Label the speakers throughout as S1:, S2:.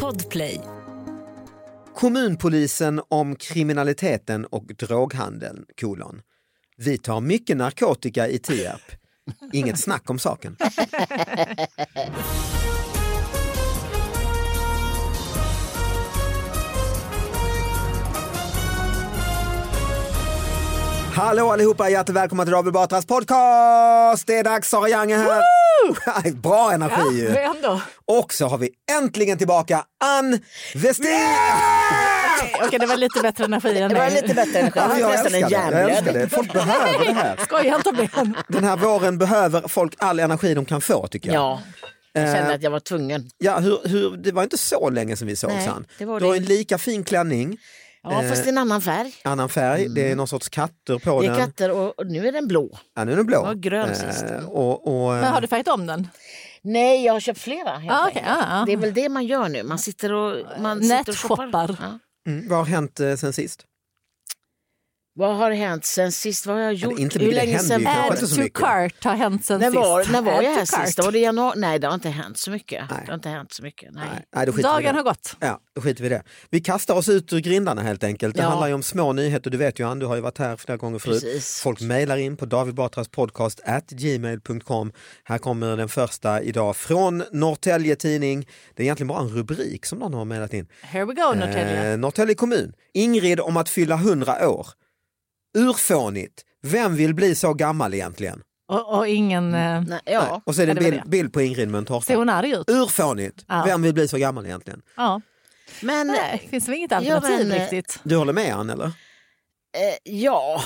S1: Podplay.
S2: Kommunpolisen om kriminaliteten och droghandeln, kolon. Vi tar mycket narkotika i Tierp. Inget snack om saken. Hallå allihopa, hjärtligt välkomna till David Batras podcast! Det är dags, Sara Young är här. Bra energi ju.
S1: ändå.
S2: Och så har vi äntligen tillbaka Ann Westin!
S1: Okej, det var lite bättre energi än
S3: Det var lite bättre energi. Han
S2: Alltså, jag
S3: fick nästan en
S2: älskar det, jag älskar
S3: hjärnblödning.
S2: det. Folk behöver det här.
S1: Skoja inte om det.
S2: Den här våren behöver folk all energi de kan få tycker jag.
S3: Ja, jag kände att jag var tvungen.
S2: Ja, hur, hur, det var inte så länge sedan vi såg
S3: Nej,
S2: Ann.
S3: det var
S2: Du har
S3: det.
S2: en lika fin klänning,
S3: Ja, fast i en annan färg.
S2: annan färg, det är någon sorts katter på
S3: Mm. Det
S2: den.
S3: är katter och, och nu är den blå.
S2: Ja, nu är den blå.
S3: var grön sist.
S2: eh, och, och,
S1: Men har du färgat om den?
S3: Nej, jag har köpt flera. Helt
S1: Ah, okej,
S3: enkelt.
S1: ja, ja.
S3: Det är väl det man gör nu. Man sitter och, man sitter och
S1: Nätshoppar.
S3: shoppar. Ja.
S2: mm, vad har hänt eh, sen sist?
S3: Vad har hänt sen sist? Vad har jag
S2: det är
S3: gjort?
S2: inte
S3: Hur
S2: mycket, det
S3: länge
S2: händer
S3: sen
S2: ju kanske
S1: Add
S2: inte så
S1: Eh, to
S2: mycket.
S1: cart har hänt sen
S3: När var,
S1: sist.
S3: när var
S1: Add
S3: jag
S1: to
S3: här
S1: cart.
S3: sist? Var det januari? Nej, det har inte hänt så mycket.
S2: Nej.
S3: Det har inte hänt så mycket. Nej.
S2: Nej, nej, då skiter vi i
S1: Dagen
S2: det.
S1: har gått.
S2: Ja, då skiter vi i det. Vi kastar oss ut ur grindarna helt enkelt. Det
S3: Ja.
S2: handlar ju om små nyheter, du vet ju Ann, du har ju varit här flera gånger förut.
S3: Precis.
S2: Folk mejlar in på davidbatraspodcast@gmail.com. Här kommer den första idag från Norrtälje Tidning. Det är egentligen bara en rubrik som någon har mejlat in.
S1: Here we go Norrtälje.
S2: Eh, Norrtälje kommun. Ingrid om att fylla 100 år. Urfånigt. Vem vill bli så gammal egentligen?
S1: Och, och ingen... eh,
S3: Nej,
S2: Nej.
S3: ja.
S2: Och så är det en
S1: Ja, det var
S2: bild,
S1: det.
S2: bild på Ingrid med en
S1: Ser
S2: tårta.
S1: hon arg ut?
S2: Urfånigt.
S1: Ja.
S2: Vem vill bli så gammal egentligen?
S1: Ja.
S3: Men
S1: Nej, finns väl inget
S3: Ja,
S1: alternativ
S3: men, eh,
S1: riktigt.
S2: Du håller med Ann eller?
S3: eh, ja.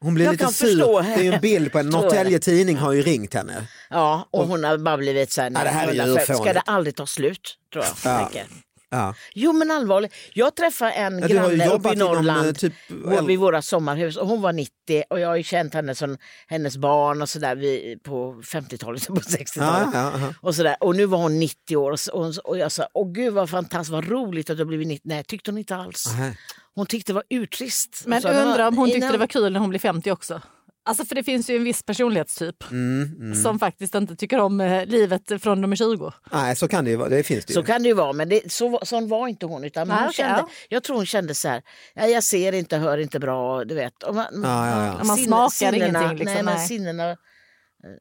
S2: Hon blir
S3: Jag
S2: lite
S3: kan
S2: sur.
S3: förstå
S2: Det är ju en bild på en
S3: Förstår
S2: Norrtälje tidning har ju ringt henne.
S3: ja, och hon har bara blivit så här,
S2: Ja, det här är ju
S3: 150.
S2: fånigt.
S3: ska det aldrig ta slut? Tror jag.
S2: Ja.
S3: tänker.
S2: Ja.
S3: Jo men allvarligt, jag träffade en
S2: Ja, du har ju
S3: granne uppe
S2: jobbat
S3: i
S2: inom eh,
S3: Norrland
S2: typ...
S3: och vid våra sommarhus och hon var 90 och jag har ju känt henne som hennes barn och sådär vi- på 50-talet och på 60-talet.
S2: Ja, ja, ja.
S3: Och, sådär. och nu var hon 90 år och s- och, hon s- och jag sa, åh gud vad fantastiskt, vad roligt att du har blivit 90. Nej, tyckte hon inte alls.
S2: Nej.
S3: Hon tyckte det var urtrist. Hon
S1: Men
S3: sa, "Men
S1: undrar om hon tyckte
S3: innan-
S1: det var kul när hon blev 50 också. Alltså för det finns ju en viss personlighetstyp
S2: Mm, mm.
S1: som faktiskt inte tycker om eh, livet från de är 20.
S2: Nej, så kan det ju vara. Det finns det ju.
S3: Så kan det ju vara, men det, så, sån var inte hon. Utan
S1: Nej,
S3: hon
S1: okej,
S3: kände,
S1: ja.
S3: Jag tror hon kände så här, "Ja, jag ser inte, hör inte bra, du vet. Och man,
S2: Ja, ja, ja.
S1: Ja, man smakar ingenting, liksom,
S3: nej, men
S1: nej.
S3: sinnena, alltså,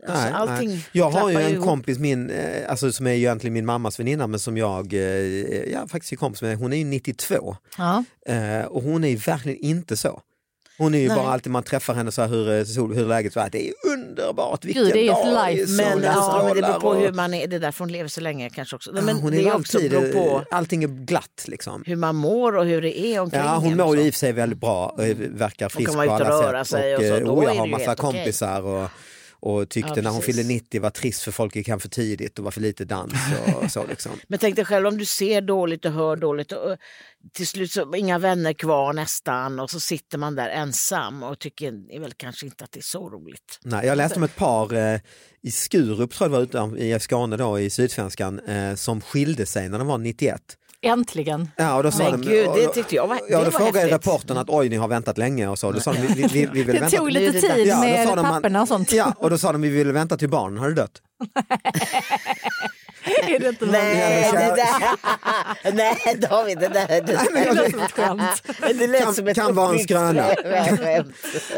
S2: Nej,
S3: allting
S2: nej. Jag har ju
S3: klappar
S2: en
S3: ihop.
S2: kompis min, eh, alltså, som är ju egentligen min mammas väninna men som jag eh, ja, faktiskt är kompis med. Hon är ju 92
S1: Ja.
S2: eh, och hon är ju verkligen inte så. Hon är ju
S3: Nej.
S2: bara alltid man träffar henne så här hur, eh, sol, hur läget så här, det är underbart, vilken
S1: det är ju ett
S2: dag,
S1: life,
S2: solen
S3: Men, ja, men det beror på
S2: strålar
S3: hur man är, det är därför hon lever så länge kanske också. Nej,
S2: Ja,
S3: Men
S2: hon är
S3: det
S2: ju
S3: är också
S2: alltid,
S3: beror på
S2: eh, allting är glatt liksom.
S3: hur man mår och hur det är omkring
S2: Ja, hon
S3: en och
S2: mår ju
S3: så.
S2: i och för sig väldigt bra och verkar frisk på
S3: vara ute och röra
S2: alla sätt.
S3: sig och så,
S2: eh,
S3: då
S2: oh,
S3: är
S2: jag
S3: det
S2: har
S3: ju
S2: massa
S3: helt okej.
S2: kompisar och, och tyckte
S3: Ja,
S2: när hon
S3: precis.
S2: fyllde 90 var trist för folk gick hem för tidigt och var för lite dans och så liksom.
S3: Men tänk dig själv om du ser dåligt och hör dåligt. Och, och, till slut så inga vänner kvar nästan och så sitter man där ensam och tycker väl kanske inte att det är så roligt.
S2: Nej, jag läste om ett par eh, i Skurup, tror jag det var, utan, i Skåne då, i Sydsvenskan, eh, som skilde sig när de var 91.
S1: Äntligen.
S2: Ja, och då sa
S3: Men
S2: de,
S3: gud,
S2: och,
S3: det tyckte jag var
S2: Ja,
S3: det
S2: då
S3: var
S2: frågade
S3: häftigt.
S2: reportern att oj, ni har väntat länge och så. Då sa de, vi, vi, vi, vi vill
S1: Det
S2: vänta.
S1: tog
S3: nu är
S1: lite
S3: det dags.
S1: tid
S2: Ja, då
S1: med
S2: sa de, man-
S1: papperna och sånt.
S2: Ja, och då sa de vi ville vänta till barnen hade dött.
S1: Är det inte
S3: Nej,
S2: men
S3: det där, nej David, det där det,
S2: Nej, men
S1: Det
S2: jag-
S1: låter som ett skämt.
S3: det lät
S2: Kan-
S3: som ett
S2: kan vara en skröna.
S3: uppbyggnadsröm.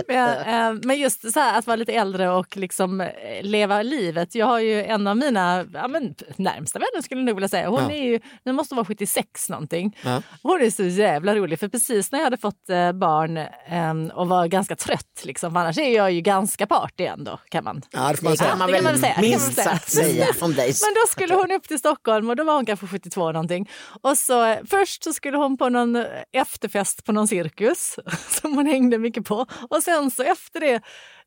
S1: Men, eh, men just så här, att vara lite äldre och liksom eh, leva livet. Jag har ju en av mina ja, men, närmsta vänner skulle jag nog vilja säga. Hon
S2: Ja.
S1: är ju, nu måste vara 76 någonting.
S2: Ja.
S1: Hon är så jävla rolig för precis när jag hade fått eh, barn eh, och var ganska trött liksom, för annars är jag ju ganska party ändå kan man
S2: Ja, det får man
S3: Det
S2: säga.
S3: kan man
S1: det kan man väl
S3: väl
S1: säga, det kan man
S3: minst
S1: väl säga.
S3: sagt säga om dig.
S1: Men då skulle hon upp till Stockholm och då var hon kanske 72 någonting. Och så eh, först så skulle hon på någon eh, efterfest på någon cirkus som hon hängde mycket på. Och sen så efter det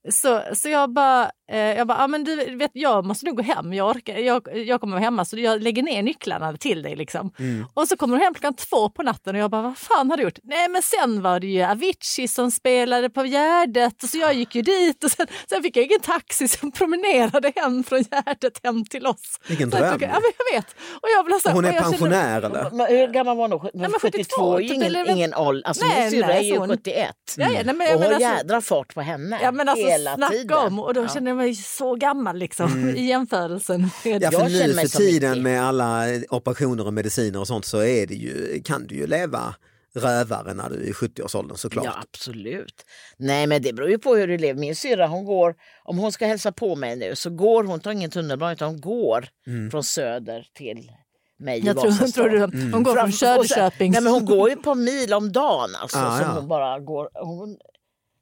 S1: så, så jag bara, eh, jag bara, ah, men du vet jag måste nog gå hem, jag, orkar, jag, jag kommer vara hemma så jag lägger ner nycklarna till dig liksom. Och så kommer hon hem klockan två på natten och jag bara, vad fan har du gjort? Nej men sen var det ju Avicii som spelade på Gärdet och så jag gick ju dit och sen, sen fick jag ingen taxi som promenerade hem från Gärdet hem till oss.
S2: Vilken
S1: Så jag
S2: dröm.
S1: tycker- Ja, men jag vet. Och jag blev så, här-
S2: Hon
S1: och
S2: är
S1: jag kände-
S2: pensionär eller?
S3: Men Hur gammal var hon då? Men
S1: men
S3: 72,
S1: 72
S3: är ju
S1: typ,
S3: ingen,
S1: eller-
S3: ingen ålder. Alltså
S1: Nej,
S3: min syrra
S1: nej,
S3: är ju
S1: så hon-
S3: 71.
S1: Ja, ja, nej, men jag
S3: och har
S1: menar så-
S3: jädra fart på henne.
S1: Ja, men alltså,
S3: hela
S1: snacka
S3: tiden.
S1: om och då
S3: Ja.
S1: känner jag mig så gammal liksom
S2: Mm.
S1: i jämförelsen. Med
S2: Ja, för
S3: Jag
S2: nu
S3: känner mig
S2: för
S3: som
S2: tiden
S3: 90.
S2: med alla eh, operationer och mediciner och sånt så är det ju, kan du ju leva rövare när du är i 70-årsåldern såklart.
S3: Ja, absolut. Nej, men det beror ju på hur du lever. Min syrra, hon går, om hon ska hälsa på mig nu så går hon, tar ingen tunnelbana utan hon går
S2: Mm.
S3: från söder till mig
S1: Jag
S3: i
S1: tror,
S3: Vasastan.
S1: tror du,
S2: Mm.
S1: hon går från
S3: Fram- och så-
S1: Söderköping.
S3: Nej, men hon går ju på mil om dagen alltså.
S2: Ja,
S3: som
S2: Ah, ja.
S3: Hon bara går, hon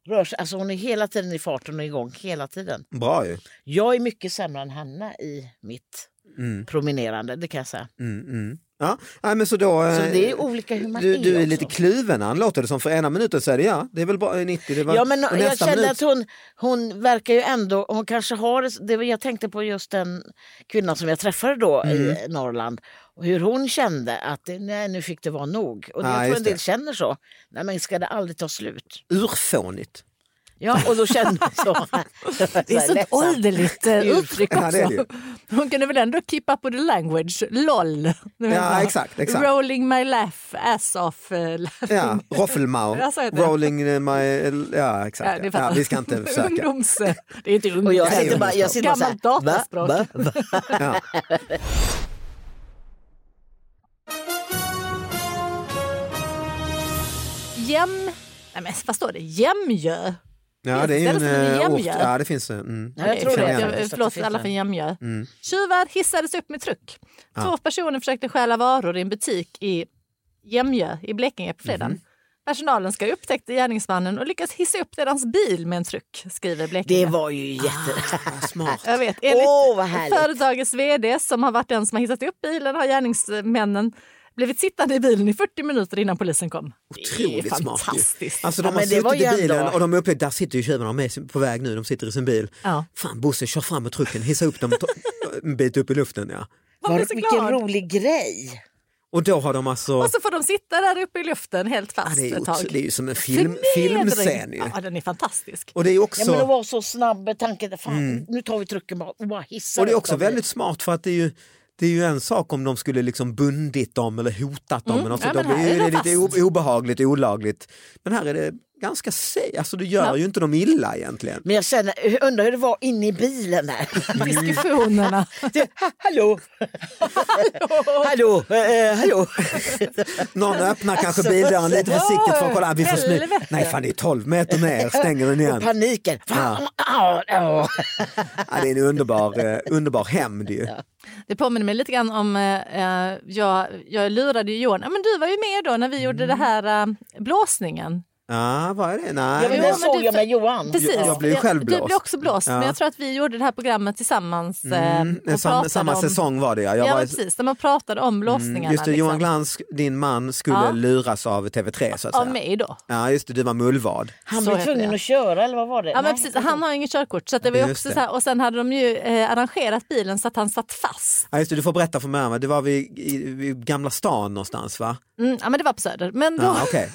S3: rör sig, alltså hon är hela tiden i farten och igång hela tiden.
S2: Bra ju.
S3: Jag är mycket sämre än Hanna i mitt
S2: Mm,
S3: promenerande, det kan jag säga.
S2: mm, mm. Ja, nej, men så då, eh,
S3: Så det är olika hur man
S2: du,
S3: är
S2: du är
S3: också.
S2: lite kluven Ann, låter det som. För ena minuten säger du ja, det är väl bara 90. Det var,
S3: Ja, men
S2: och
S3: jag
S2: nästa
S3: kände
S2: minut-
S3: att hon, hon verkar ju ändå, hon kanske har, det- det, var- jag tänkte på just den kvinnan som jag träffade då i
S2: Mm.
S3: Norrland, och hur hon kände att det- nej, nu fick det vara nog. Och det,
S2: Ja,
S3: jag tror
S2: just
S3: en del
S2: det.
S3: känner så. Nej, men ska det aldrig ta slut?
S2: Urfånigt.
S3: Ja, och då kände hon så.
S1: det är sånt ålderligt eh, uttryck
S2: Ja, det är det ju.
S1: också. Hon kunde väl ändå keep up with the language, LOL. Nu vet
S2: Ja,
S1: jag.
S2: exakt. exakt.
S1: Rolling my laugh, ass off. eh, laughing.
S2: Ja, Roffelmau,
S1: Ja, så heter det.
S2: Rolling eh, my... Ja,
S1: Ja,
S2: exakt.
S1: ni
S2: Ja,
S1: fattar.
S2: vi ska inte försöka.
S1: Ungdoms... Det är inte ungdoms.
S3: Och jag
S2: Det är
S3: sitter bara, jag sitter bara så här,
S1: Gammalt dataspråk.
S3: Va? Va?
S2: Ja.
S1: Jäm... Nej, men vad står det? Jämjö?
S2: Ja, det är ju
S1: Istället
S2: en
S1: för en
S2: eh, ort.
S1: jämjö.
S2: Ja, det finns... eh, Mm.
S3: Ja, jag tror
S2: känner
S3: det.
S2: igen
S1: Jag-
S3: det.
S1: Förlåt alla från Jämjö.
S2: Mm.
S1: Tjuvar hissades upp med truck. Två personer försökte stjäla varor i en butik i Jämjö i Blekinge på fredagen.
S2: Mhm.
S1: Personalen ska ha upptäckt gärningsmannen och lyckas hissa upp deras bil med en truck, skriver Blekinge.
S3: Det var ju jätte...
S2: Ah, smart.
S1: Jag vet. Enligt
S3: Åh, vad härligt!
S1: företagets vd som har varit den som har hissat upp bilen har gärningsmännen blivit sittande i bilen i 40 minuter innan polisen kom. det
S2: Otroligt
S1: är
S2: smart ju.
S1: fantastiskt.
S2: Alltså de
S3: Ja,
S2: har
S3: men det var
S2: suttit i
S3: ju
S2: bilen
S3: ändå-
S2: och de har upptäckt, där sitter ju tjuvarna, de är på väg nu, de sitter i sin bil.
S1: Ja.
S2: Fan Bosse, kör fram med trucken, hissa upp dem ta- en bit upp i luften. Ja.
S1: Man blir så
S3: vilken
S1: glad.
S3: rolig grej!
S2: Och då har de alltså,
S1: Och så får de sitta där uppe i luften helt
S2: ja,
S1: fast
S2: det, är
S1: ett
S2: otro,
S1: tag.
S2: det är ju som en film,
S1: Förnedring.
S2: filmscen ju.
S1: Ja, den är fantastisk.
S2: Och det är
S3: Ja, men att
S2: också,
S3: vara så snabb med tanken, fan, nu tar vi trucken bara, och bara
S2: Mm.
S3: hissar
S2: och det är
S3: upp
S2: också
S3: dem.
S2: väldigt smart för att det är ju det är ju en sak om de skulle liksom bundit dem eller hotat dem. men alltså,
S1: Mm. ja, men
S2: de är,
S1: här
S2: ju-
S1: är
S2: det är
S1: de
S2: lite
S1: fast.
S2: o- obehagligt, olagligt. Men här är det ganska safe, alltså det gör
S1: Ja.
S2: ju inte dem illa egentligen.
S3: Men jag känner, jag undrar hur det var inne i bilen där.
S1: Diskussionerna.
S3: Det- ha- Hallå! hallå! Eh, hallå!
S2: Någon öppnar kanske bildörren lite
S1: ja,
S2: försiktigt för att kolla. Vi får smy-
S1: Alltså, helvete.
S2: Nej fan det är 12 meter ner, stänger den igen.
S3: Paniken! Fan, ah, ah.
S2: Ja, det är en underbar, eh, underbar hämnd ju.
S1: Det påminner mig lite grann om, eh, eh, jag, jag lurade ju Johan, ja, men du var ju med då när vi gjorde det här eh, blåsningen.
S2: Ja, vad är det?
S3: Ja,
S2: Nej.
S3: men
S1: men
S3: den såg
S1: du-
S3: jag med Johan.
S1: Precis.
S2: jag blev ju själv
S1: Du
S2: blåst.
S1: blev också blåst,
S2: Ja.
S1: men jag tror att vi gjorde det här programmet tillsammans. eh,
S2: Mm,
S1: och
S2: samma,
S1: pratade
S2: samma
S1: om,
S2: säsong var det ja. Jag
S1: Ja,
S2: var,
S1: men precis. När man pratade om blåsningarna.
S2: Mm, just det,
S1: liksom.
S2: Johan Glans, din man, skulle
S1: Ja.
S2: luras av TV3 så att
S1: Av
S2: säga.
S1: mig då.
S2: Ja, just det, du var mullvad.
S3: Han
S1: Så
S3: blev
S1: heter
S3: tvungen
S1: det.
S3: att köra eller vad var det?
S1: Ja,
S3: Nej.
S1: men precis. Han har inget körkort. Så att det var ju
S2: Just
S1: också
S2: det.
S1: så här, och sen hade de ju eh, arrangerat bilen så att han satt fast.
S2: Ja, just det, du får berätta för mig, va? det var vid, i, vid Gamla stan någonstans va?
S1: Mm, ja, men det var på Söder. Men då,
S2: Ja, okej.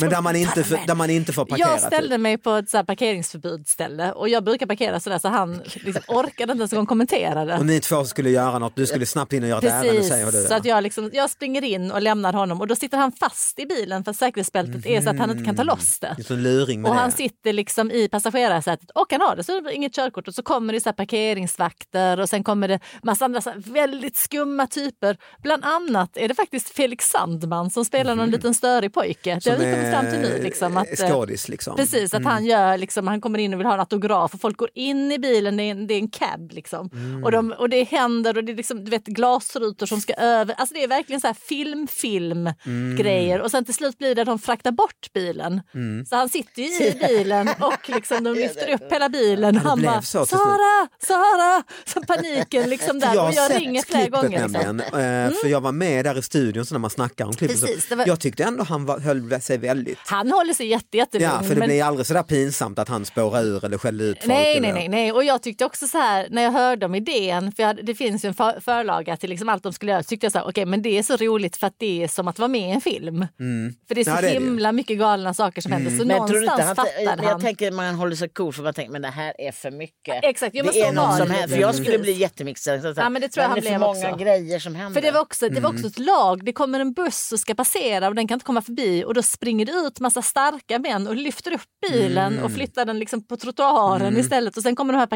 S2: Men där man, inte, får- där man inte får parkera.
S1: Jag
S2: typ.
S1: ställde mig på ett så här parkeringsförbudsställe och jag brukar parkera sådär så han liksom orkade inte ens en gång kommentera det.
S2: Och ni två skulle göra något, du skulle snabbt in och göra ett ärende säger du.
S1: Precis, så
S2: va?
S1: att jag, liksom, jag springer in och lämnar honom och då sitter han fast i bilen för att säkerhetsbältet är så att han inte kan ta loss det.
S2: Det är som en luring Mhm. med
S1: Och
S2: det.
S1: han sitter liksom i passagerarsätet och han har dessutom inget körkort och så kommer det så här parkeringsvakter och sen kommer det massa andra så här väldigt skumma typer. Bland annat är det faktiskt Felix Sandman som spelar någon
S2: Mhm.
S1: liten störig pojke. Det har vi kommit fram till nu. Liksom, att, eh,
S2: skådis liksom.
S1: Precis, att han, gör, liksom, han kommer in och vill ha en autograf och folk går in i bilen, det är en, det är en cab. Liksom.
S2: Mm.
S1: Och, de, och det händer och det är liksom, du vet, glasrutor som ska över. Alltså det är verkligen så här film, film
S2: Mm.
S1: grejer. Och sen till slut blir det att de fraktar bort bilen.
S2: Mm.
S1: Så han sitter ju i bilen och liksom, de lyfter upp hela bilen. Och han
S2: blev
S1: bara
S2: så till slut.
S1: Sara, Sara! Så paniken liksom där.
S2: Jag
S1: och
S2: har
S1: jag
S2: sett
S1: ringer flera
S2: klippet
S1: gånger. Liksom.
S2: nämligen, eh, för jag var med där i studion så när man snackar om klippet.
S1: Precis,
S2: så,
S1: det var-
S2: Jag tyckte ändå han var, höll sig väldigt...
S1: Han håller sig jätte, jättelugn.
S2: Ja, för det
S1: Mm, men-
S2: blir aldrig sådär pinsamt att han spårar ur eller skäller ut folk.
S1: Nej, nej,
S2: eller...
S1: nej, nej. Och jag tyckte också så här när jag hörde om idén, för jag hade, det finns ju en för, förlaga till liksom allt de skulle göra, så tyckte jag så här, okej, men det är så roligt för att det är som att vara med i en film.
S2: Mm.
S1: För det är så
S2: Ja, det är det ju.
S1: himla mycket galna saker som händer, så
S3: Mm. Men tror du
S1: någonstans
S3: inte han,
S1: fattar
S3: men
S1: han.
S3: jag tänker man håller sig cool för man tänker men det här är för mycket.
S1: Exakt, jag
S3: det
S1: måste
S3: är något
S1: vara
S3: som
S1: lite-
S3: händer. För jag skulle
S1: Precis.
S3: bli jättemixad. Så att-
S1: Ja, men det tror jag han
S3: det är för
S1: blev
S3: många
S1: också.
S3: grejer som händer.
S1: För det var,
S3: Mm.
S1: också, det var också ett lag, det kommer en buss och ska passera och den kan inte komma förbi och då springer det ut massa starka män och lyfter upp bilen
S2: Mm.
S1: och flyttar den liksom på trottoaren
S2: Mm.
S1: istället. Och sen kommer de här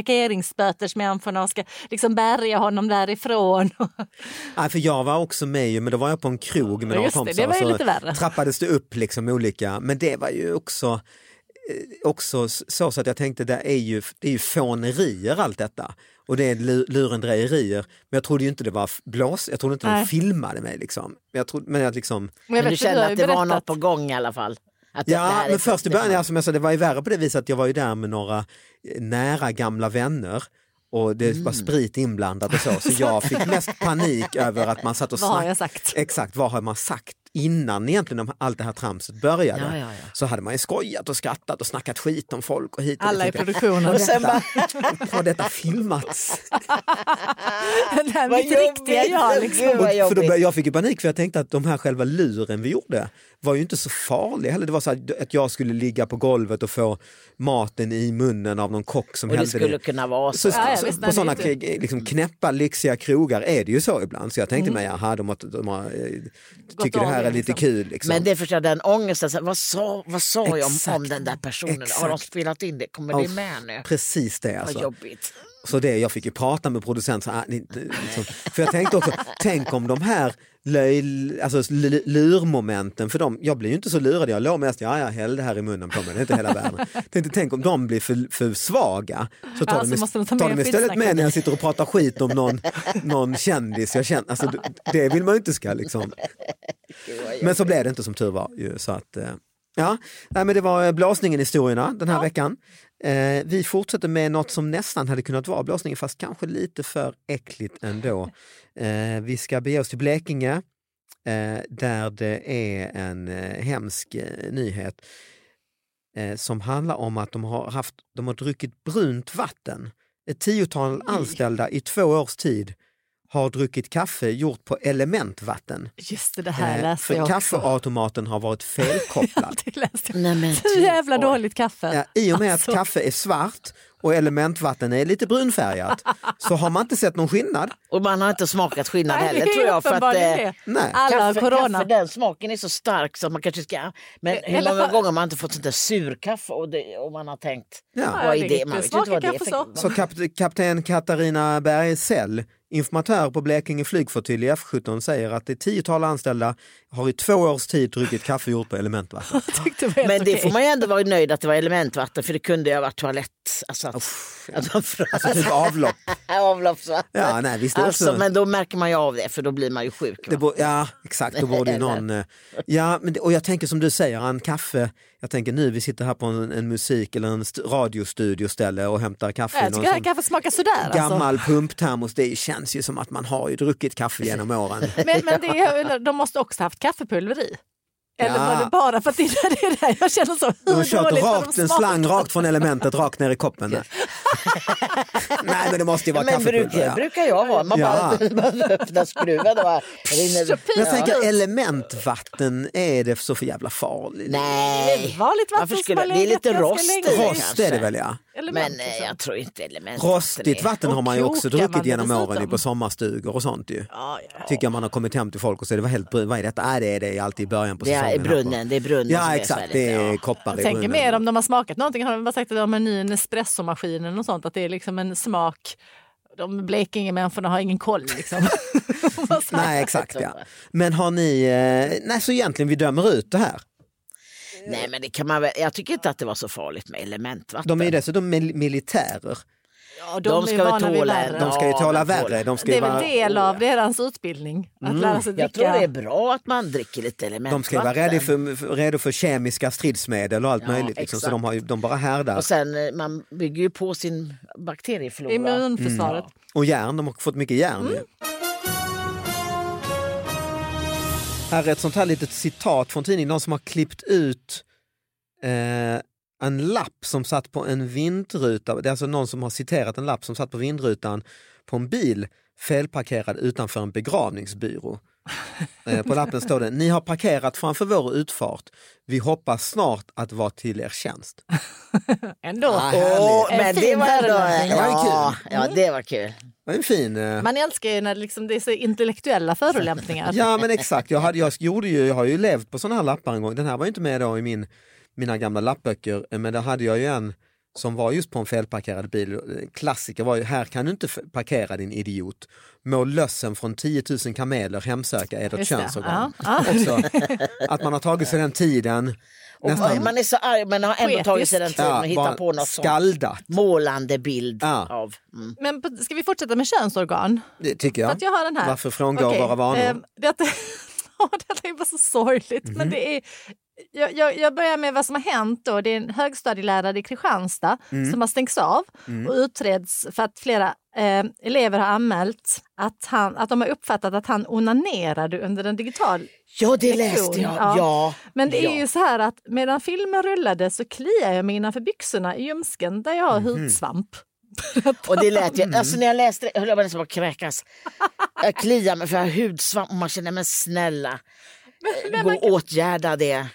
S1: parkeringsbötersmänniskorna och ska liksom bärga honom därifrån.
S2: Nej, för jag var också med ju, men då var jag på en krog
S1: Ja,
S2: med några
S1: just det,
S2: kompisar.
S1: det var ju
S2: och så
S1: lite värre.
S2: Trappades det upp liksom olika, men det var ju också eh, också s- så, så att jag tänkte det är ju, det är ju fånerier allt detta och det är lu- lurendrejerier men jag trodde ju inte det var f- blås, jag trodde inte
S1: Nej.
S2: de filmade mig liksom. Men jag trodde, men jag liksom
S1: jag
S3: Men
S1: vet
S3: du
S1: att har
S3: kände
S1: ju
S3: att det var
S1: berättat-
S3: något på gång i alla fall? Att det- det
S2: Ja,
S3: här är
S2: men först i början,
S3: faktiskt-
S2: ja, som jag sa, det var ju värre på det viset att jag var ju där med några eh, nära gamla vänner och det
S1: Mm.
S2: var sprit inblandat och så, så jag fick mest panik över att man satt och
S1: Vad har
S2: snackade.
S1: jag sagt?
S2: Exakt, vad har man sagt innan egentligen om allt det här tramset började?
S3: Ja, ja, ja.
S2: Så hade man ju skojat och skrattat och snackat skit om folk och hit och
S1: Alla i
S2: dit. Jag tänkte,
S1: produktionen.
S2: "Har detta, har detta filmats?
S1: Det här
S3: Vad
S1: mitt riktiga
S3: jobbigt.
S1: jag liksom.
S3: Gud,
S2: Och,
S3: vad
S2: för då
S3: jobbigt.
S2: började, jag fick ju panik för jag tänkte att de här själva luren vi gjorde var ju inte så farliga heller. Det var så att, att jag skulle ligga på golvet och få maten i munnen av någon kock som
S3: Och det
S2: hällde
S3: skulle kunna vara
S2: Så,
S3: så.
S1: ja,
S2: så,
S1: visst, nej, det
S2: på
S1: är
S2: sådana
S1: inte-
S2: k- liksom knäppa, lyxiga krogar är det ju så ibland. Så jag tänkte mig, jaha, de, har, de har, eh, tycker det
S1: Mm. av
S2: här
S1: det,
S2: är lite
S1: liksom.
S2: kul. Liksom.
S3: Men det förstår jag, den ångesten. så här, Vad sa, vad sa jag om, om
S2: Exakt.
S3: den där personen? Har de
S2: Exakt.
S3: spelat in det? Kommer
S2: Ja,
S3: det med nu?
S2: Precis det
S3: Vad
S2: alltså.
S3: jobbigt.
S2: Så det, jag fick ju prata med producenten. Ah, ni, ni- liksom. För jag tänkte också, tänk om de här löj, alltså, l- lurmomenten, för de, jag blir ju inte så lurad, jag låg mest, ja ja häll det här i munnen på mig, det är inte hela världen. Tänkte, tänk om de blir för, för svaga, så tar
S1: Ja, så
S2: de,
S1: Alltså, måste de ta
S2: tar
S1: med
S2: de istället
S1: skitsnacket.
S2: med när jag sitter och pratar skit om någon, någon kändis jag känner. Alltså, det vill man ju inte ska liksom. Men så blev det inte som tur var. Ju, så att, eh, ja. Nej, men det var eh, blåsningen i historierna den här veckan. Eh, vi fortsätter med något som nästan hade kunnat vara blåsningen fast kanske lite för äckligt ändå. Eh, vi ska bege oss till Blekinge eh, där det är en eh, hemsk eh, nyhet eh, som handlar om att de har, haft, de har druckit brunt vatten. Ett tiotal anställda i två års tid har druckit kaffe gjort på elementvatten.
S1: Just det, det här
S2: Eh,
S1: läste
S2: för
S1: jag också.
S2: kaffeautomaten har varit felkopplad.
S1: Det läste jag.
S3: Nej, men,
S1: Så jävla
S3: Mm, typ. oj.
S1: dåligt kaffe.
S2: ja, I och med
S1: Alltså.
S2: att kaffe är svart och elementvatten är lite brunfärgat så har man inte sett någon skillnad.
S3: Och man har inte smakat skillnad
S1: Nej,
S3: heller tror jag. För att,
S1: uppenbarligen
S3: eh,
S1: det.
S2: Nej.
S1: Alla har
S3: Kaffe,
S1: corona.
S3: kaffe, den smaken är så stark så att man kanske ska... Men
S1: I
S3: hur
S1: alla
S3: många
S1: fall-
S3: gånger har man inte fått sånt där surkaffe och, det, och man har tänkt,
S2: Ja.
S1: Ja,
S3: vad
S1: det
S3: är
S1: är
S3: det?
S1: inte-
S3: Man vet ju inte
S1: smaken
S3: vad det är
S1: kaffe
S3: för...
S1: så.
S2: Så kap- kapten Katarina Bergsell, informatör på Blekinge flygflottilj i F17 säger att ett tiotal anställda har i två års tid druckit kaffe gjort på elementvatten.
S1: Tyckte det var
S3: Men
S1: helt
S3: det
S1: okej.
S3: får man ju ändå vara nöjd att det var elementvatten för det kunde ju ha varit toalett. Alltså att, att man frös
S2: Alltså typ avlopp.
S3: avloppsvatten.
S2: Ja, nej, visst, det är
S3: alltså,
S2: också-
S3: men då märker man ju av det för då blir man ju sjuk.
S2: Det
S3: va?
S2: bo- ja, exakt. Då borde ju någon, eh, ja, men det, och jag tänker som du säger, en kaffe. Jag tänker nu, vi sitter här på en, en musik eller en st- radiostudioställe och hämtar kaffe. i
S1: Jag
S2: någon
S1: tycker det här
S2: sån
S1: kaffet smakar sådär. Alltså.
S2: Gammal pumptermos, det känns ju som att man har ju druckit kaffe genom åren.
S1: Men, men det, är- de måste också haft kaffepulver i. Eller
S2: Ja.
S1: var det bara för att det är det där jag känner så,
S2: De har
S1: hur
S2: kört
S1: dåligt har
S2: rakt,
S1: de
S2: en
S1: smakat?
S2: slang rakt från elementet rakt ner i koppen. Nej men det måste ju vara
S3: men
S2: kaffepulver.
S3: brukar,
S2: ja.
S3: brukar jag ha. Man
S2: Ja.
S3: bara, bara öppnar skruven och bara
S1: Så
S3: rinner.
S1: pyr.
S2: Men jag
S1: Ja.
S2: tänker elementvatten, är det så för jävla farligt?
S3: Nej,
S1: Vanligt vatten
S3: eh, Varför
S1: som
S3: skulle-
S1: har
S3: det är
S1: legat
S3: lite
S1: ganska
S3: rost i
S1: länge.
S2: Rost är det väl ja.
S1: Eller
S3: men
S1: något, liksom.
S3: eh, jag tror inte elementvatten
S2: Rostigt
S3: är-
S2: vatten har man ju
S1: Och
S2: också
S1: krokar man
S2: druckit
S1: det
S2: genom åren
S1: dessutom.
S2: ju på sommarstugor och sånt ju.
S1: Ja, ja.
S2: Tycker jag man har kommit hem till folk och så är det var helt brunt, vad är detta? Nej det är det alltid i början på
S3: Det
S2: säsongen.
S3: är brunnen, det är brunnen som
S2: Ja
S3: är
S2: exakt,
S3: så
S2: det
S3: här lite,
S2: är
S3: ja.
S2: koppar
S1: Jag
S2: i
S1: tänker
S2: brunnen.
S1: mer om de har smakat någonting. Har de bara sagt att de har en ny Nespresso-maskin eller något sånt? Att det är liksom en smak. De Blekinge-människorna har ingen koll liksom. Vad snackar
S2: Nej exakt ja. Men har ni, eh, nej så egentligen vi dömer ut det här.
S3: Nej men det kan man väl, jag tycker inte att det var så farligt med elementvatten.
S2: De är ju dessutom mil- militärer.
S1: Ja, de,
S3: De
S1: är
S3: ska
S1: ju
S3: väl
S1: vana vid
S3: tåla
S1: värre.
S2: De ska ju
S3: Ja,
S2: tala
S3: men
S2: värre.
S3: folk-
S2: De, ska
S1: Det
S2: ju
S1: är väl
S2: vara,
S1: del av deras utbildning, att lära sig
S3: Mm. Jag
S1: dricka.
S3: tror det är bra att man dricker lite elementvatten.
S2: de ska ju vara redo för, för- redo för kemiska stridsmedel och allt
S3: Ja,
S2: möjligt. Liksom. Så
S3: exakt.
S2: de, har ju, de bara härdar.
S3: Och sen eh, man bygger ju på sin bakterieflora.
S1: Immunförsvaret.
S3: Mm.
S2: Och järn, de har fått mycket järn. ju. Här är ett sånt här litet citat från tidningen. Någon som har klippt ut eh, en lapp som satt på en vindruta. Det är alltså någon som har citerat en lapp som satt på vindrutan på en bil felparkerad utanför en begravningsbyrå. Eh, På lappen står det, ni har parkerat framför vår utfart. Vi hoppas snart att vara till er tjänst.
S1: Ändå.
S2: Ah, härligt.
S3: Åh, men
S1: En
S3: det
S1: fin
S3: var ändå,
S1: värdelandning.
S2: Det var ju
S3: ja,
S2: kul. Mm.
S3: ja, det var kul.
S2: Det är en fin... eh,
S1: Man älskar ju när liksom det är så intellektuella förolämpningar.
S2: Ja men exakt, jag, hade, jag, gjorde ju, jag har ju levt på sådana här lappar en gång. Den här var ju inte med då i min mina gamla lappböcker, eh, men då hade jag ju en som var just på en felparkerad bil. Eh, Klassiker var ju, här kan du inte f- parkera din idiot. Må lössen från 10 000 kameler hemsöka ert
S1: Just det,
S2: könsorgan.
S1: ja, ja.
S2: Också, att man har tagit sig den tiden,
S3: Och
S2: nästan
S3: man är så arg men har ändå
S1: Poetisk.
S3: tagit sig den tiden att hitta
S2: bara
S3: på något sånt
S2: skaldat.
S3: målande bild
S2: Ja.
S3: av. Mm.
S1: Men på- ska vi fortsätta med könsorgan?
S2: Det tycker
S1: För
S2: jag.
S1: att jag har den här.
S2: Varför frångå
S1: Okej,
S2: våra vanor?
S1: ehm, detta, Ja, detta är bara så sorgligt.
S3: Mhm.
S1: Men det är, jag, jag, jag börjar med vad som har hänt. Då. Det är en högstadielärare i Kristianstad
S3: Mm.
S1: som har stängts av och utreds för att flera eh, elever har anmält att, han, att de har uppfattat att han onanerade under en digital
S3: Ja det
S1: Lektion,
S3: läste jag.
S1: ja.
S3: Ja.
S1: men det
S3: ja.
S1: är ju så här att medan filmen rullade så kliade jag mig innanför byxorna i ljumsken där jag
S3: Mhm.
S1: har hudsvamp.
S3: Och det lät ju, alltså när jag läste det höll jag bara nästan på att kräkas. Jag kliar mig för jag har hudsvamp och man känner men snälla.
S1: men
S3: Gå
S1: man
S3: och åtgärda det.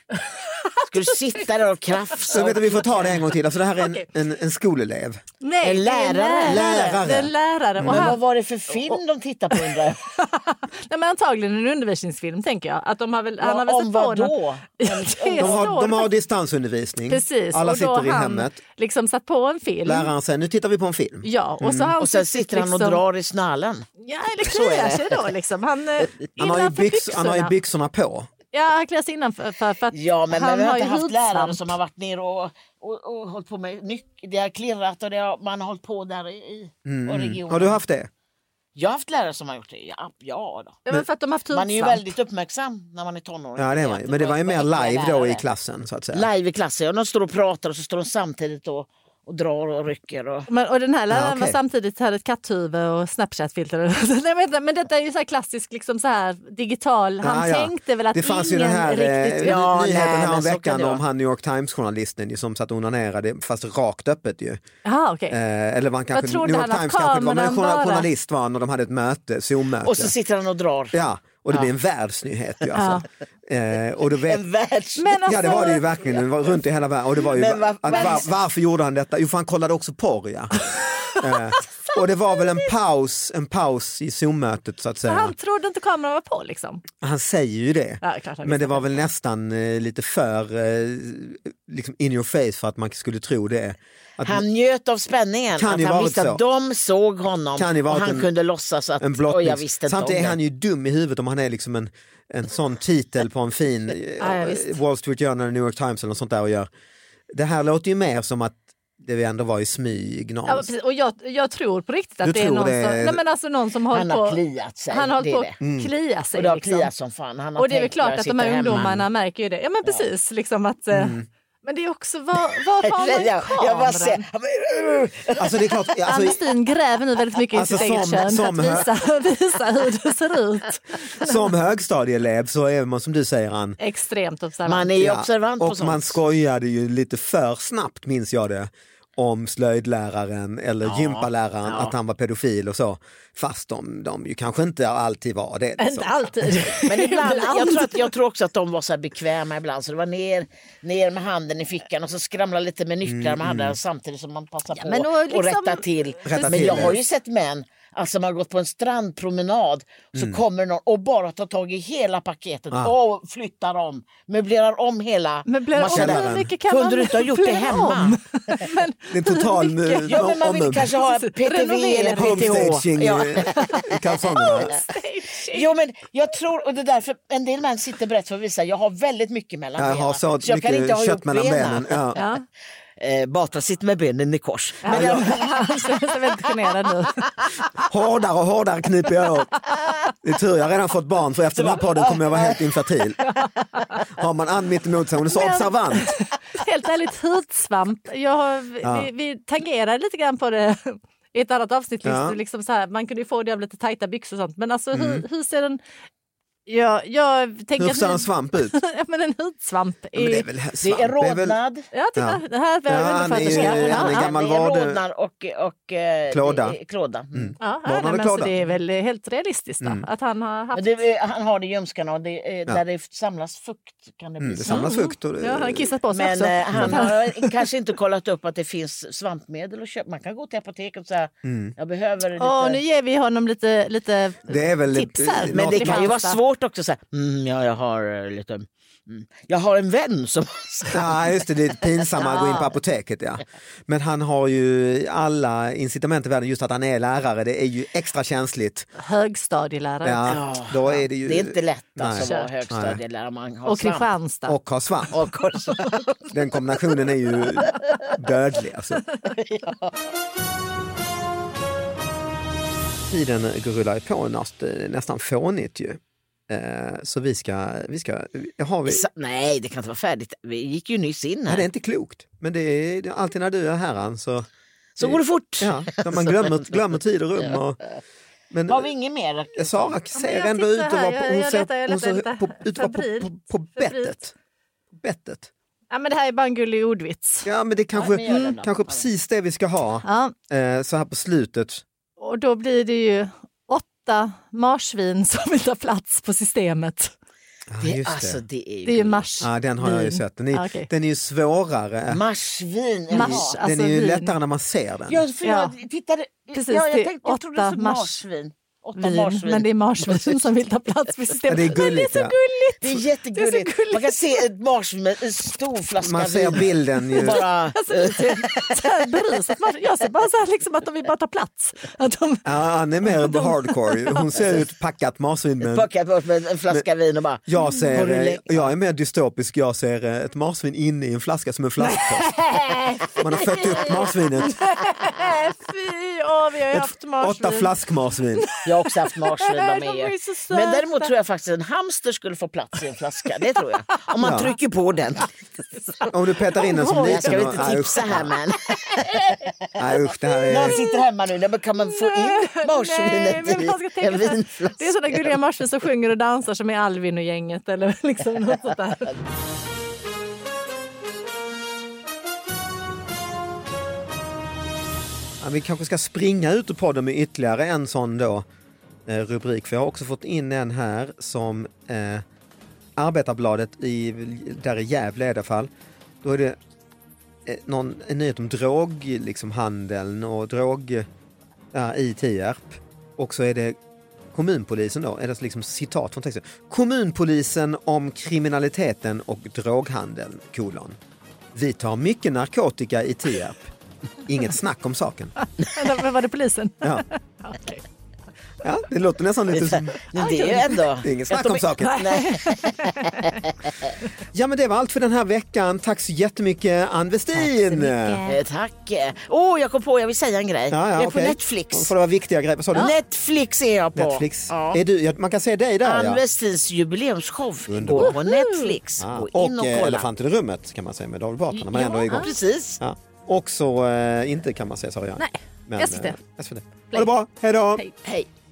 S3: Ska du sitta där och krafsa?
S2: Så
S3: och-
S2: vet du, vi får ta det en gång till. Alltså det här är en,
S1: Okej.
S2: en, en skolelev.
S1: Nej,
S3: En
S1: det är en
S3: lärare.
S2: Lärare.
S1: Det är en lärare. Och
S3: Men vad
S1: han,
S3: var det för film de tittade på undrar jag?
S1: nej, men antagligen en undervisningsfilm tänker jag. Att de har väl, han har väl
S3: Om
S1: sett på
S3: vad
S1: den.
S3: då?
S1: Det
S2: De har,
S1: står
S2: de har
S1: faktiskt-
S2: distansundervisning.
S1: Precis,
S2: Alla
S1: och då
S2: sitter i
S1: har
S2: hemmet.
S1: Han liksom satt på en film.
S2: Läraren Mm. säger, nu tittar vi på en film.
S1: Ja, och, så har han
S3: Och sen
S1: suttit
S3: sitter han och
S1: liksom,
S3: drar i snallen.
S1: Ja, eller
S3: Så är
S1: kliar
S3: det.
S1: sig då liksom. Han, eh,
S2: Han har, ju
S1: innanför
S2: byx, han har ju
S1: byxorna.
S2: byxorna på.
S1: Ja, han kliar sig innanför. För, för att
S3: Ja, men, men
S1: han
S3: vi har
S1: har ju
S3: inte haft lärare
S1: hudsvamp.
S3: som har varit ner och, och, och hållit på med nyckel. Det har klirrat och det har, man har hållit på där i, i och regionen.
S2: Mm. Har du haft det?
S3: Jag har haft lärare som har gjort det. Ja, ja då.
S1: Ja, men för att de har haft
S3: Man är ju
S1: hudsvamp.
S3: väldigt uppmärksam när man är tonåring.
S2: Ja, det var, ju- men det var ju mer live då i klassen så att säga.
S3: Live i klassen, ja. De står och pratar och så står de samtidigt och, och drar och rycker. Och...
S1: Men, och den här läraren
S2: okej.
S1: var samtidigt hade ett katthuvud och Snapchat-filter. Nej, men, men detta är ju så här klassisk liksom så här, digital. Han
S2: Ja, ja.
S1: tänkte väl att
S2: det fanns ju
S1: ingen
S2: den här
S1: riktigt...
S2: eh,
S3: Ja,
S2: nyheten
S3: nej, men
S2: här om
S3: så kan
S2: veckan
S3: det vara.
S2: om han New York Times-journalisten ju som satt och onanerade fast rakt öppet ju.
S1: Aha, okej.
S2: Eh, eller var han kanske,
S1: tror
S2: New
S1: inte
S2: York
S1: han att
S2: Times kanske det var, men en
S1: kameran
S2: journal-
S1: bara-
S2: journalist var han och de hade ett möte, Zoom-möte.
S3: Och så sitter han och drar.
S2: Ja, och det blir en världsnyhet ju alltså. eh, och då vet,
S3: En världs...
S1: Men alltså,
S2: Ja det var det ju verkligen, det var runt i hela världen. Och det var ju,
S3: Men vad-
S2: att,
S3: men-
S2: var, varför gjorde han detta? Jo för han kollade också porr ja. eh, och det var väl en paus, en paus i Zoom-mötet så att
S1: Så
S2: säga.
S1: han
S2: Han,
S1: trodde inte kameran var på liksom.
S2: säger ju det.
S1: Ja, klart han
S2: Men det
S1: visste.
S2: var väl nästan eh, lite för eh, liksom in your face för att man skulle tro det. Att
S3: Han njöt av spänningen.
S2: Kan
S3: att
S2: ju
S3: han
S2: varit
S3: visste att
S2: så.
S3: de såg honom
S2: Kan ju
S3: och
S2: varit
S3: han
S2: en-
S3: kunde låtsas att
S2: en
S3: "Oj,
S2: blottning.
S3: jag visste inte
S2: Samtidigt är
S3: om det."
S2: han ju dum i huvudet om han är liksom en, en sån titel på en fin eh,
S1: Ja, ja, visst.
S2: Wall Street Journal, New York Times eller något sånt där och gör. Det här låter ju mer som att det ändå var i smyg
S1: Ja,
S2: någonstans.
S1: precis. och jag, jag tror på riktigt att
S2: Du
S1: det är
S2: tror
S1: någon,
S2: det
S1: som,
S2: är- Mm.
S1: nej, men alltså någon som
S3: Han har
S1: hållit på,
S3: kliat sig.
S1: han har
S3: det
S1: hållit
S3: är
S1: på
S3: det.
S1: att klia sig.
S3: Och det har
S1: liksom.
S3: kliat som fan. Han har
S1: Och det är väl
S3: tänkt, "Jag
S1: klart att de
S3: sitter
S1: här
S3: hemma."
S1: ungdomarna märker ju det. Ja men precis. Liksom att, eh,
S2: Mm.
S1: Men det är också, var, varför har man
S3: Jag, jag bara
S1: kameran?
S3: ser, han bara, "Ugh."
S2: Alltså det är klart, alltså,
S1: Ann-Kristin gräver nu väldigt mycket
S2: Alltså,
S1: i sitt eget
S2: som-
S1: kön
S2: som
S1: för att visa, visa hur det ser ut.
S2: som högstadieelev så är man som du säger Ann.
S1: Extremt observant.
S3: man är ju
S2: Ja,
S3: observant på
S2: och
S3: sånt.
S2: man skojade ju lite för snabbt minns jag det om slöjdläraren eller gympaläraren
S3: ja.
S2: att han var pedofil och så. Fast de, de ju kanske inte alltid var det. liksom.
S1: Inte alltid.
S3: Men ibland,
S1: Ibland.
S3: jag, tror att, jag tror också att de var så här bekväma ibland så det var ner, ner med handen i fickan och så skramla lite med nycklar man hade samtidigt som man passade på
S1: men och
S3: och,
S1: liksom-
S3: rätta till.
S2: Mm, Rätta
S3: men
S2: till,
S3: jag
S2: ja.
S3: har ju sett män Alltså man har gått på en strandpromenad så
S2: Mm.
S3: kommer någon och bara tar tag i hela paketet
S2: Ah.
S3: och flyttar om, möblerar om hela
S1: Möblerar om,
S3: maskinen.
S2: hur
S1: mycket kan
S3: Kunde
S1: man
S3: du inte ha gjort det
S1: möblera
S3: hemma?
S1: om? men,
S2: Det är total
S1: Mycket.
S3: Ja men man vill kanske ha PTV eller PTH.
S2: homestaging
S3: Ja.
S2: i kalsongerna.
S3: Jo men jag tror, och det är därför en del män sitter brett för att visa, jag har väldigt mycket mellan
S2: Jag
S3: benen.
S2: har så
S3: jag kan inte
S2: mycket
S3: ha
S2: kött
S3: ihop
S2: mellan benen. Ja.
S1: ja.
S3: Eh, Batra sitter med benen i kors. Men
S1: Ja, Han känner sig väldigt generad nu.
S2: Hårdare och hårdare kniper jag åt. Det är tur jag har redan fått barn för efter den här podden kommer jag vara helt infertil. Har man Ann mitt emot sig, hon är så
S1: Men-
S2: observant.
S1: Helt ärligt, hudsvamp. Jag har, vi, vi tangerade lite grann på det i ett annat avsnitt.
S2: Ja.
S1: Liksom så här, man kunde ju få det av lite tajta byxor och sånt. Men alltså,
S2: Mm.
S1: hur, hur ser den... Ja, jag tänker
S2: Hur ser
S1: att
S2: en
S1: ni-
S2: svamp ut?
S1: ja, men en hudsvamp. Är,
S2: Men det är väl
S3: det
S2: svamp.
S3: är
S2: det är väl-
S3: rodnad.
S1: Ja, titta. Det här
S2: Ja,
S1: behöver
S2: han är ju-
S1: undersköterska.
S2: han är
S1: Ja,
S2: gammal
S3: det är
S2: varde-
S3: rodnad och, och eh,
S2: Klåda.
S3: det är klåda. Mm.
S1: Ja,
S2: Barnen
S1: nej,
S2: har
S1: men så
S2: klagat.
S1: det är väl helt realistiskt då,
S2: Mm.
S1: att han har haft...
S3: Men det, han har det i ljumskarna och det, eh, där det samlas fukt kan det bli.
S2: Mm, Det samlas fukt. Och
S1: Ja, han har
S2: det,
S1: kissat på sig
S3: Men
S1: också.
S3: eh, han har kanske inte kollat upp att det finns svampmedel att köpa. Man kan gå till apoteket och säga
S2: Mm.
S3: jag behöver lite.
S1: Åh, nu ger vi honom lite, lite
S2: det är väl
S1: tips här.
S2: eh,
S3: Men det
S1: Något
S3: kan ju vara
S1: pasta.
S3: svårt också. Så här, mm, ja, jag har eh, lite Mm. Jag har en vän som...
S2: Ja, just det, det är pinsamma att gå in på apoteket. Ja. Men han har ju alla incitament i världen, just att han är lärare, det är ju extra känsligt.
S1: Högstadielärare.
S2: Ja, då är det ju...
S3: Det är inte lätt
S2: Nej.
S3: alltså att vara
S1: Kört.
S3: högstadielärare. Man har
S1: Och
S3: svamp.
S1: Kristianstad.
S2: Och har svamp.
S3: Och har svamp.
S2: Den kombinationen är ju dödlig. Alltså. Tiden rullar ju på nast, nästan fånigt ju. Eh, Så vi ska, vi ska, har vi,
S3: Så- Nej, det kan inte vara färdigt. Vi gick ju nyss in
S2: nej, det är
S3: här.
S2: inte klokt. Men det är, det är alltid när du är här Ann, så,
S3: Så går det fort.
S2: ja, så man glömmer, glömmer tid och rum. Och, men
S3: Har vi inget mer?
S2: Sara ser
S1: jag
S2: ändå ut
S1: tittar
S2: att
S1: här,
S2: vara på,
S1: jag-
S2: hon
S1: jag
S2: ser-
S1: letar- jag
S2: hon ser
S1: letar
S2: på, ut att vara på,
S1: febrilt,
S2: på, på
S1: febrilt.
S2: bettet. På bettet.
S1: Ja, men det här är bara en gullig ordvits.
S2: Ja men det är
S3: Ja, men gör den
S2: kanske,
S3: då.
S2: kanske
S3: Ja.
S2: precis det vi ska ha
S1: Ja,
S2: eh, så här på slutet.
S1: och då blir det ju åtta marsvin som vill ta plats på systemet.
S2: Ja,
S3: Det,
S2: just
S3: alltså,
S2: det.
S3: det är ju...
S1: Det är ju mars.
S2: Ja, den har jag ju
S1: vin.
S2: sett. Den är,
S1: Ja, okej.
S2: den är ju svårare.
S3: Marsvin.
S2: Den är ju-
S1: Mars,
S3: jaha.
S1: alltså
S2: den är ju
S1: vin.
S2: lättare när man ser den.
S3: Ja, för
S1: Ja.
S3: jag tittade...
S1: Precis,
S3: ja,
S1: det
S3: jag,
S1: är
S3: tänkte, jag trodde
S1: åtta
S3: det stod
S1: mars-
S3: marsvin. Åtta
S1: Vin,
S3: marsvin.
S1: men det är marsvin som vill ta plats på
S2: Ja,
S1: systemet.
S2: det är
S1: Men
S2: gulligt.
S1: det är så
S2: ja.
S1: gulligt!
S3: Det är jättegulligt.
S1: Det är så gulligt.
S3: Man kan se ett marsvin med en stor flaska
S2: Man ser
S3: vin.
S2: bilden ju.
S3: Och bara...
S1: Alltså, det är så här berusat. mars- Jag ser bara så här liksom att de vill bara ta plats. Att de,
S2: Ja, Ann är mer hardcore. ju. Hon ser ut packat marsvin. Men
S3: Packa bort med en flaska vin och bara...
S2: jag,
S3: Mm. Har
S2: ser,
S3: du
S2: eh,
S3: lä-
S2: jag är mer dystopisk. Jag ser eh, ett marsvin inne i en flaska som en flaskpost. Man har fött upp marsvinet.
S1: Nej, fy! Åh, vi har ju haft
S2: Ett,
S1: marsvin.
S2: åtta flaskmarsvin.
S3: Jag har också haft marsvin.
S1: Nej,
S3: de
S1: de
S3: är
S1: är
S3: ju.
S1: så söta.
S3: Men däremot tror jag faktiskt att en hamster skulle få plats i en flaska. Det tror jag. Om man
S2: Ja.
S3: trycker på den.
S2: Om du petar in en som
S3: Jag
S2: liten.
S3: ska väl
S2: och-
S3: inte
S2: nej,
S3: tipsa
S2: usch,
S3: här men.
S2: Nej usch, det här
S3: Någon
S2: är...
S3: sitter hemma nu. Men kan man få in
S1: Nej,
S3: marsvinet
S1: men man ska
S3: i
S1: tänka
S3: en
S1: så här,
S3: vinflaska?
S1: Det är sådana gulliga marsvin som sjunger och dansar som är Alvin och gänget eller liksom något sånt där.
S2: Ja, vi kanske ska springa ut ur podden med ytterligare en sån då, eh, rubrik. För jag har också fått in en här som eh, Arbetarbladet, i, där i Gävle i alla fall. Då är det eh, någon, en nyhet om droghandeln liksom, handeln och drog ja, i Tierp. Och så är det kommunpolisen då, är det liksom citat från texten. Kommunpolisen om kriminaliteten och droghandeln, kolon. Vi tar mycket narkotika i Tierp. Inget snack om saken.
S1: Eller vad var det polisen?
S2: Ja. ja, det låter nästan lite som...
S3: Men det är ju ändå...
S2: Det är ingen snack om saken.
S3: Nej.
S2: Ja, men det var allt för den här veckan. Tack så jättemycket, Ann Westin. Ja,
S3: Eh, Tack. Åh, jag kom på, jag vill säga en grej. jag är på
S2: okej.
S3: Netflix.
S2: Får det vara viktiga grejer? Vad sa du?
S3: Netflix är jag på.
S2: Netflix.
S3: Ja.
S2: Är du, ja, man kan se dig där,
S3: Ann
S2: ja.
S3: Westins jubileumsshow går
S2: Underbart.
S3: på Netflix.
S2: Ja,
S3: Gå in och
S2: Och eh,
S3: kolla.
S2: Elefanten i rummet kan man säga med David Batra när man ändå är igång.
S3: precis.
S2: Ja. Och så eh, inte kan man säga, sa jag.
S1: Nej,
S2: Men,
S1: SVT.
S2: Eh, SVT. Ha det bra, hej då!
S3: Hej.